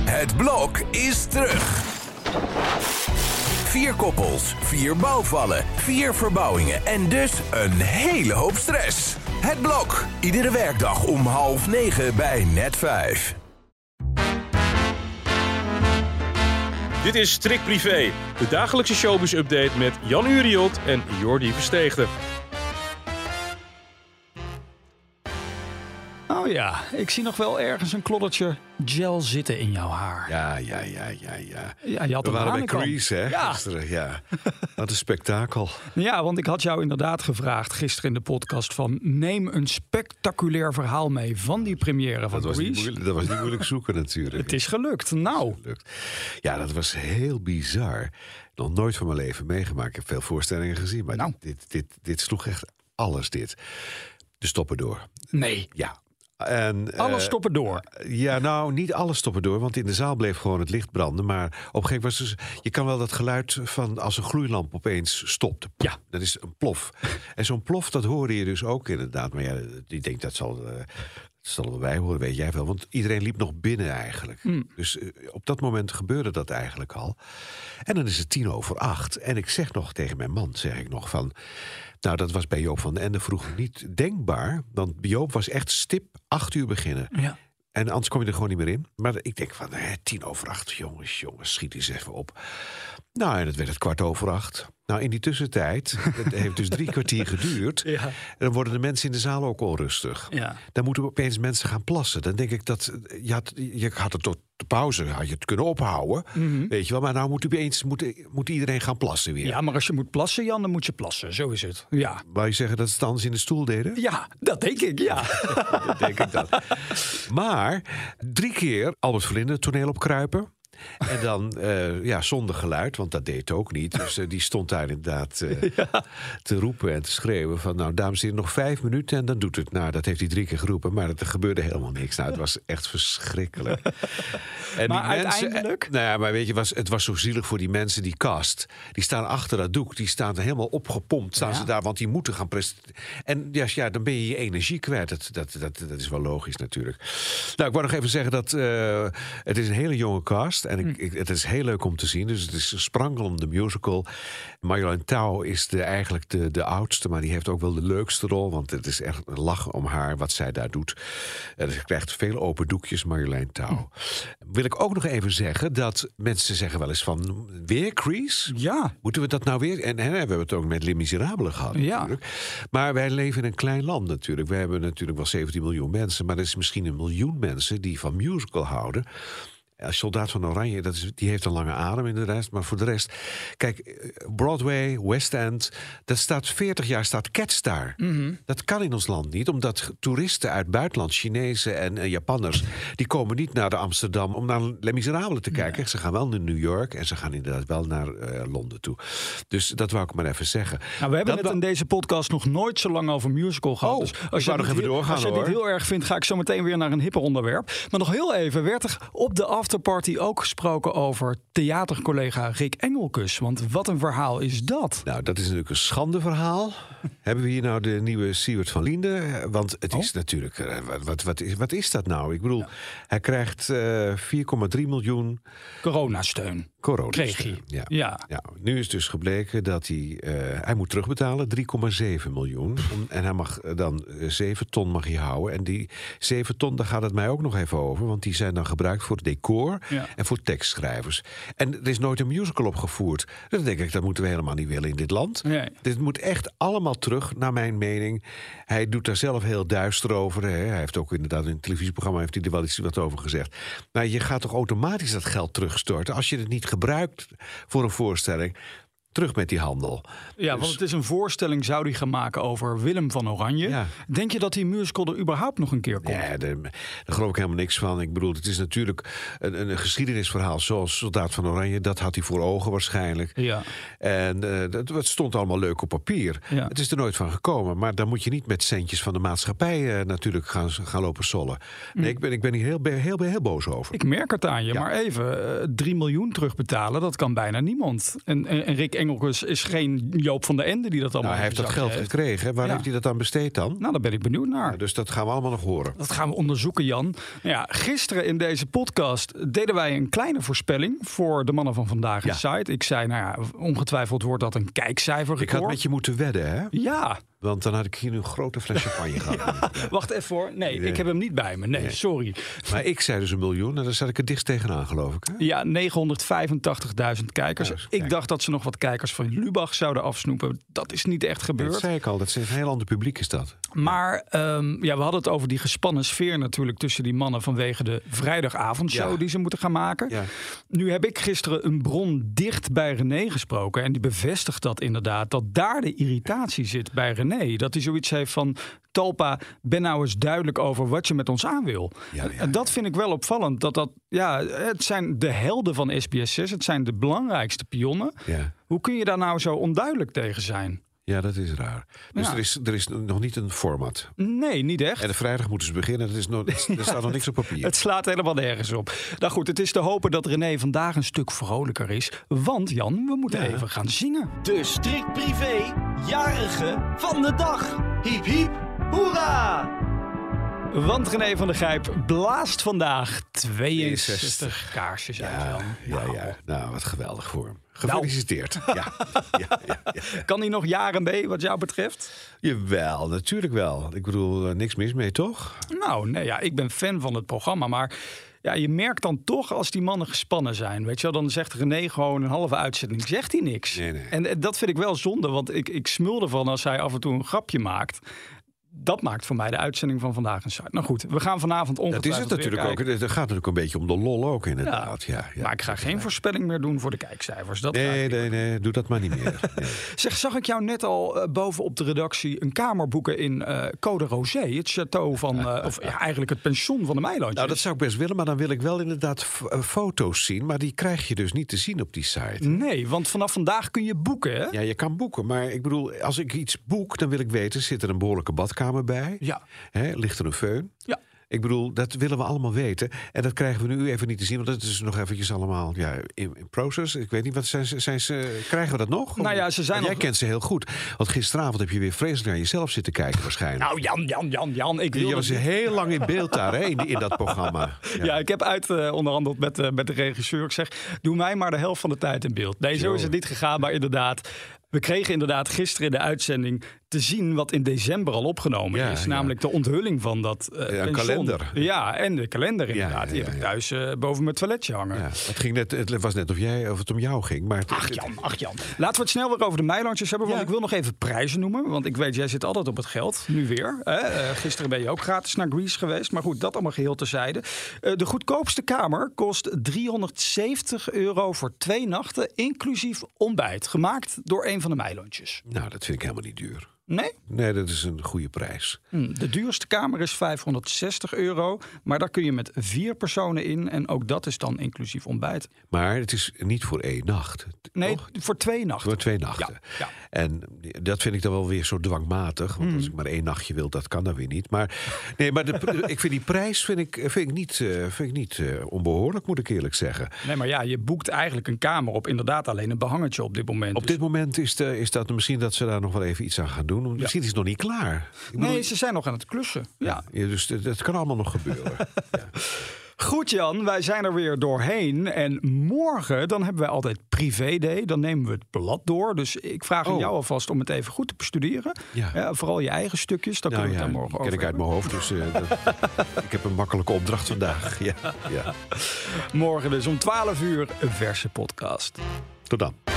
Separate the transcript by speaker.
Speaker 1: Het blok is terug. Vier koppels, vier bouwvallen, vier verbouwingen en dus een hele hoop stress. Het blok, iedere werkdag om half negen bij net vijf.
Speaker 2: Dit is Strik Privé, de dagelijkse showbiz-update met Jan Uriot en Jordi Versteegde.
Speaker 3: Oh ja, ik zie nog wel ergens een kloddertje gel zitten in jouw haar.
Speaker 4: Ja, ja, ja, ja, ja.
Speaker 3: Ja, je had
Speaker 4: We
Speaker 3: hem
Speaker 4: waren bij
Speaker 3: aan, ik
Speaker 4: Crease, hè,
Speaker 3: kwam. Ja.
Speaker 4: gisteren. Ja. Wat een spektakel.
Speaker 3: Ja, want ik had jou inderdaad gevraagd gisteren in de podcast van... neem een spectaculair verhaal mee van die première van
Speaker 4: Dat was, niet
Speaker 3: Grease.
Speaker 4: moeilijk, dat was niet moeilijk zoeken natuurlijk.
Speaker 3: Het is gelukt. Nou,
Speaker 4: Lukt. Ja, dat was heel bizar. Nog nooit van mijn leven meegemaakt. Ik heb veel voorstellingen gezien, maar
Speaker 3: Nou.
Speaker 4: dit, dit, dit sloeg echt alles dit. De stoppen door.
Speaker 3: nee.
Speaker 4: Ja. En,
Speaker 3: Alle
Speaker 4: eh,
Speaker 3: stoppen door.
Speaker 4: Ja, nou, niet alles stoppen door, want in de zaal bleef gewoon het licht branden. Maar op een gegeven moment was dus... Je kan wel dat geluid van als een gloeilamp opeens stopt.
Speaker 3: Ja.
Speaker 4: Dat is een plof. en zo'n plof, dat hoorde je dus ook inderdaad. Maar ja, ik denk dat zal... eh, dat zal wel wij horen, weet jij wel. Want iedereen liep nog binnen eigenlijk.
Speaker 3: Hmm.
Speaker 4: Dus eh, op dat moment gebeurde dat eigenlijk al. En dan is het tien over acht. En ik zeg nog tegen mijn man, zeg ik nog van... Nou, dat was bij Joop van den Ende vroeger niet denkbaar. Want Joop was echt stip acht uur beginnen.
Speaker 3: Ja.
Speaker 4: En anders kom je er gewoon niet meer in. Maar ik denk van, hè, tien over acht, jongens, jongens, schiet eens even op. Nou, en het werd het kwart over acht. Nou, in die tussentijd, het heeft dus drie kwartier geduurd...
Speaker 3: Ja.
Speaker 4: dan worden de mensen in de zaal ook onrustig.
Speaker 3: Ja.
Speaker 4: Dan moeten opeens mensen gaan plassen. Dan denk ik dat, je had, je had het tot de pauze, had je het kunnen ophouden. Weet je wel, maar nou moet, opeens, moet, moet iedereen gaan plassen weer.
Speaker 3: Mhm. ja, maar als je moet plassen, Jan, dan moet je plassen. Zo is het. Ja,
Speaker 4: Wou je zeggen dat ze het anders in de stoel deden?
Speaker 3: ja dat denk ik, ja.
Speaker 4: Dat denk ik dat. Maar drie keer Albert Verlinde toneel opkruipen. En dan eh, ja, zonder geluid, want dat deed het ook niet. Dus eh, die stond daar inderdaad eh, te roepen en te schreeuwen van... nou, dames en heren, nog vijf minuten en dan doet het. Nou, dat heeft hij drie keer geroepen, maar er gebeurde helemaal niks. Nou, het was echt verschrikkelijk. En
Speaker 3: Maar
Speaker 4: die mensen-
Speaker 3: uiteindelijk?
Speaker 4: nou ja, maar weet je, was, het was zo zielig voor die mensen, die cast. Die staan achter dat doek, die staan helemaal opgepompt, staan
Speaker 3: Ja.
Speaker 4: ze daar, want die moeten gaan presteren. En ja, ja, dan ben je je energie kwijt. Dat, dat, dat, dat is wel logisch natuurlijk. Nou, ik wou nog even zeggen dat eh, het is een hele jonge cast en ik, ik- het is heel leuk om te zien. Dus het is een sprankelende musical. Marjolein Touw is de, eigenlijk de, de oudste, maar die heeft ook wel de leukste rol, want het is echt een lach om haar wat zij daar doet. En ze krijgt veel open doekjes, Marjolein Touw. Wil ik ook nog even zeggen dat mensen zeggen wel eens van weer Crease?
Speaker 3: Ja,
Speaker 4: Moeten we dat nou weer? En hè, we hebben het ook met Les Miserables gehad
Speaker 3: Ja.
Speaker 4: natuurlijk. Maar wij leven in een klein land natuurlijk. We hebben natuurlijk wel 17 miljoen mensen. Maar er is misschien een miljoen mensen die van musical houden. Eh, Soldaat van Oranje, dat is, die heeft een lange adem inderdaad. Maar voor de rest, kijk, eh, Broadway, West End, dat staat 40 jaar, staat Cats daar. Dat kan in ons land niet, omdat toeristen uit het buitenland, Chinezen en eh, Japanners, die komen niet naar de Amsterdam om naar Les Miserables te kijken. Ze gaan wel naar New York en ze gaan inderdaad wel naar eh, Londen toe. Dus dat wou ik maar even zeggen.
Speaker 3: nou, we hebben
Speaker 4: Dat
Speaker 3: het
Speaker 4: wa-
Speaker 3: in deze podcast nog nooit zo lang over musical gehad.
Speaker 4: Oh,
Speaker 3: dus
Speaker 4: ik
Speaker 3: als je
Speaker 4: wou nog
Speaker 3: dit
Speaker 4: even
Speaker 3: heel-
Speaker 4: doorgaan,
Speaker 3: Als je dit
Speaker 4: hoor.
Speaker 3: heel erg vindt, ga ik zo meteen weer naar een hipper onderwerp. Maar nog heel even, werd er op de afterparty ook gesproken over theatercollega Rick Engelkus. Want wat een verhaal is dat?
Speaker 4: Nou, dat is natuurlijk een schandeverhaal. Hebben we hier nou de nieuwe Siewert van Liende? Eh, Want het
Speaker 3: Oh.
Speaker 4: is natuurlijk... eh, Wat, wat, wat, is, wat is dat nou? Ik bedoel, hij krijgt eh, 4,3 miljoen
Speaker 3: Coronasteun.
Speaker 4: corona.
Speaker 3: Kreeg hij.
Speaker 4: Ja.
Speaker 3: Ja.
Speaker 4: Ja, nu is dus gebleken dat hij... eh, hij moet terugbetalen, 3,7 miljoen. Om- en hij mag eh, dan eh, 7 ton mag hij houden. En die 7 ton, daar gaat het mij ook nog even over. Want die zijn dan gebruikt voor decor
Speaker 3: Ja.
Speaker 4: en voor tekstschrijvers. En er is nooit een musical opgevoerd. Dus Dan denk ik, dat moeten we helemaal niet willen in dit land.
Speaker 3: Nee.
Speaker 4: Dit moet echt allemaal terug, naar mijn mening. Hij doet daar zelf heel duister over. Hè. Hij heeft ook inderdaad in een televisieprogramma heeft hij er wel iets wat over gezegd. Maar je gaat toch automatisch dat geld terugstorten... als je het niet gebruikt voor een voorstelling... Terug met die handel.
Speaker 3: Ja, want het is een voorstelling zou die gaan maken over Willem van Oranje.
Speaker 4: Ja.
Speaker 3: Denk je dat die musical er überhaupt nog een keer komt?
Speaker 4: Ja, daar, daar geloof ik helemaal niks van. Ik bedoel, het is natuurlijk een, een, een geschiedenisverhaal zoals Soldaat van Oranje. Dat had hij voor ogen waarschijnlijk.
Speaker 3: Ja.
Speaker 4: En eh, dat, het stond allemaal leuk op papier.
Speaker 3: Ja.
Speaker 4: Het is er nooit van gekomen. Maar dan moet je niet met centjes van de maatschappij eh, natuurlijk gaan, gaan lopen sollen.
Speaker 3: Mm.
Speaker 4: Nee, ik ben, ik ben hier heel, heel, heel, heel boos over.
Speaker 3: Ik merk het aan je, maar even eh, 3 miljoen terugbetalen, dat kan bijna niemand. En, en, en Rick Engelkes is geen Joop van de Ende die dat allemaal
Speaker 4: Nou, hij heeft
Speaker 3: in
Speaker 4: dat
Speaker 3: zijn
Speaker 4: geld
Speaker 3: zakje heeft.
Speaker 4: gekregen. hè? Waar
Speaker 3: Ja.
Speaker 4: heeft hij dat aan besteed dan?
Speaker 3: Nou, daar ben ik benieuwd naar.
Speaker 4: Ja, dus dat gaan we allemaal nog horen.
Speaker 3: Dat gaan we onderzoeken, Jan. Nou Ja, gisteren in deze podcast deden wij een kleine voorspelling voor de mannen van vandaag in site. Ik zei, nou ja, ongetwijfeld wordt dat een kijkcijfer.
Speaker 4: Ik had met je moeten wedden, hè?
Speaker 3: Ja,
Speaker 4: Want dan had ik hier nu een grote fles champagne gehad.
Speaker 3: wacht even hoor. Nee, ik heb hem niet bij me. Nee, sorry.
Speaker 4: Maar ik zei dus een miljoen en daar zat ik het dichtst tegenaan, geloof ik. Hè?
Speaker 3: Ja, 985.000 kijkers.
Speaker 4: Ja, dus
Speaker 3: ik
Speaker 4: kijk.
Speaker 3: dacht dat ze nog wat kijkers van Lubach zouden afsnoepen. Dat is niet echt
Speaker 4: Dat
Speaker 3: gebeurd.
Speaker 4: zei ik al, dat is een heel ander publiek is dat.
Speaker 3: Maar ehm, ja, we hadden het over die gespannen sfeer natuurlijk tussen die mannen vanwege de vrijdagavondshow
Speaker 4: Ja.
Speaker 3: die ze moeten gaan maken.
Speaker 4: Ja.
Speaker 3: Nu heb ik gisteren een bron dicht bij René gesproken en die bevestigt dat inderdaad, dat daar de irritatie zit bij René. Dat hij zoiets heeft van, Talpa, ben nou eens duidelijk over wat je met ons aan wil.
Speaker 4: Ja, ja.
Speaker 3: En dat vind ik wel opvallend, dat dat, ja, het zijn de helden van SBS6, het zijn de belangrijkste pionnen.
Speaker 4: Ja.
Speaker 3: Hoe kun je daar nou zo onduidelijk tegen zijn?
Speaker 4: Ja, dat is raar. Dus
Speaker 3: Ja.
Speaker 4: er, is, er is nog niet een format.
Speaker 3: Nee, niet echt.
Speaker 4: En de vrijdag moeten ze beginnen. Dat is nog, er staat nog niks op papier.
Speaker 3: Het slaat helemaal nergens op. Nou goed, het is te hopen dat René vandaag een stuk vrolijker is. Want Jan, we moeten even gaan zingen.
Speaker 5: De strikt privé jarige van de dag. Hiep hiep, hoera!
Speaker 3: Want René van der Gijp blaast vandaag 62 kaarsjes uit. Jan.
Speaker 4: ja, ja. Nou, wat geweldig voor hem. Gefeliciteerd. Ja. Ja, ja, ja.
Speaker 3: Kan hij nog jaren mee, wat jou betreft?
Speaker 4: Jawel, natuurlijk wel. Ik bedoel, eh, niks mis mee, toch?
Speaker 3: Nou, nee, ja, ik ben fan van het programma, maar... Ja, je merkt dan toch als die mannen gespannen zijn. Weet je wel, dan zegt René gewoon een halve uitzending. Zegt hij niks.
Speaker 4: Nee, nee.
Speaker 3: En eh, dat vind ik wel zonde, want ik, ik smul ervan als hij af en toe een grapje maakt. Dat maakt voor mij de uitzending van vandaag een site. Nou goed, we gaan vanavond
Speaker 4: Dat
Speaker 3: ongetwijfeld
Speaker 4: is het
Speaker 3: weer
Speaker 4: natuurlijk ook.
Speaker 3: kijken.
Speaker 4: Het het gaat natuurlijk een beetje om de lol ook, inderdaad. Ja. Ja,
Speaker 3: Maar ik ga geen voorspelling meer doen voor de kijkcijfers. Dat ga ik
Speaker 4: Nee,
Speaker 3: niet
Speaker 4: nee, nee, doe dat maar niet meer. Nee.
Speaker 3: Zeg, zag ik jou net al eh, boven op de redactie een kamer boeken in eh, Code Rosé, het château van, eh, of ja, eigenlijk het pension van de Meilandjes.
Speaker 4: Nou, dat zou ik best willen, maar dan wil ik wel inderdaad f- eh, foto's zien. Maar die krijg je dus niet te zien op die site.
Speaker 3: Nee, want vanaf vandaag kun je boeken, hè?
Speaker 4: Ja, je kan boeken, maar ik bedoel, als ik iets boek, dan wil ik weten: zit er een behoorlijke badkamer bij?
Speaker 3: Ja.
Speaker 4: Hè, ligt er een föhn?
Speaker 3: Ja.
Speaker 4: Ik bedoel, dat willen we allemaal weten. En dat krijgen we nu even niet te zien, want dat is nog eventjes allemaal ja, in, in process. Ik weet niet, wat zijn, ze- zijn ze, krijgen we dat nog?
Speaker 3: Nou ja, ze zijn
Speaker 4: Want jij
Speaker 3: nog-
Speaker 4: kent ze heel goed. Want gisteravond heb je weer vreselijk naar jezelf zitten kijken waarschijnlijk.
Speaker 3: Nou, Jan, Jan, Jan, Jan, ik
Speaker 4: je
Speaker 3: wil
Speaker 4: was heel lang in beeld daar, hè, in, in dat programma.
Speaker 3: Ja. ik heb uit eh, onderhandeld met, eh, met de regisseur. Ik zeg, doe mij maar de helft van de tijd in beeld. Nee, zo is het niet gegaan, maar inderdaad. We kregen inderdaad gisteren in de uitzending te zien wat in december al opgenomen
Speaker 4: Ja,
Speaker 3: is.
Speaker 4: ja.
Speaker 3: Namelijk de onthulling van dat eh,
Speaker 4: Ja, een
Speaker 3: pension.
Speaker 4: kalender.
Speaker 3: Ja, en de kalender inderdaad.
Speaker 4: ja,
Speaker 3: Die
Speaker 4: ja,
Speaker 3: heb ik
Speaker 4: ja.
Speaker 3: thuis eh, boven mijn toiletje hangen.
Speaker 4: Ja, het, ging net, het was net of, jij, of het om jou ging. Maar het-
Speaker 3: Ach Jan, ach Jan. Laten we het snel weer over de Meilandjes hebben. Want
Speaker 4: Ja.
Speaker 3: ik wil nog even prijzen noemen. Want ik weet, jij zit altijd op het geld. Nu weer. Hè? Eh, gisteren ben je ook gratis naar Greece geweest. Maar goed, dat allemaal geheel terzijde. Eh de goedkoopste kamer kost 370 euro voor twee nachten. Inclusief ontbijt. Gemaakt door een van de Meilandjes.
Speaker 4: nou, dat vind ik helemaal niet duur.
Speaker 3: Nee?
Speaker 4: Nee, dat is een goede prijs.
Speaker 3: Hm, De duurste kamer is 560 euro. Maar daar kun je met vier personen in. En ook dat is dan inclusief ontbijt.
Speaker 4: Maar het is niet voor één nacht.
Speaker 3: Nee,
Speaker 4: toch?
Speaker 3: voor twee nachten.
Speaker 4: Voor eh, twee nachten.
Speaker 3: Ja, Hmm. ja.
Speaker 4: En dat vind ik dan wel weer zo dwangmatig. Want als ik maar één nachtje wil, dat kan dan weer niet. Maar, nee, maar de, ik vind die prijs vind ik, vind ik niet, eh, vind ik niet eh, onbehoorlijk, moet ik eerlijk zeggen.
Speaker 3: Nee, maar ja, je boekt eigenlijk een kamer op inderdaad alleen een behangetje op dit moment. Dus-
Speaker 4: Op dit moment is, de, is dat misschien dat ze daar nog wel even iets aan gaan doen. want Misschien is het nog niet klaar. Ik bedoel,
Speaker 3: Nee, ze zijn nog aan het klussen. Ja.
Speaker 4: ja, dus dat dat kan allemaal nog gebeuren.
Speaker 3: Goed Jan, wij zijn er weer doorheen. En morgen, dan hebben wij altijd privé day. Dan nemen we het blad door. Dus ik vraag aan
Speaker 4: Oh.
Speaker 3: jou alvast om het even goed te bestuderen. Eh,
Speaker 4: Ja.
Speaker 3: vooral je eigen stukjes, dan
Speaker 4: nou
Speaker 3: kunnen we
Speaker 4: ja,
Speaker 3: het daar
Speaker 4: die
Speaker 3: morgen
Speaker 4: ken
Speaker 3: over
Speaker 4: ik uit
Speaker 3: hebben.
Speaker 4: mijn hoofd. Dus eh, dat- ik heb een makkelijke opdracht vandaag. Ja, ja.
Speaker 3: Morgen dus om 12 uur een verse podcast.
Speaker 4: Tot dan.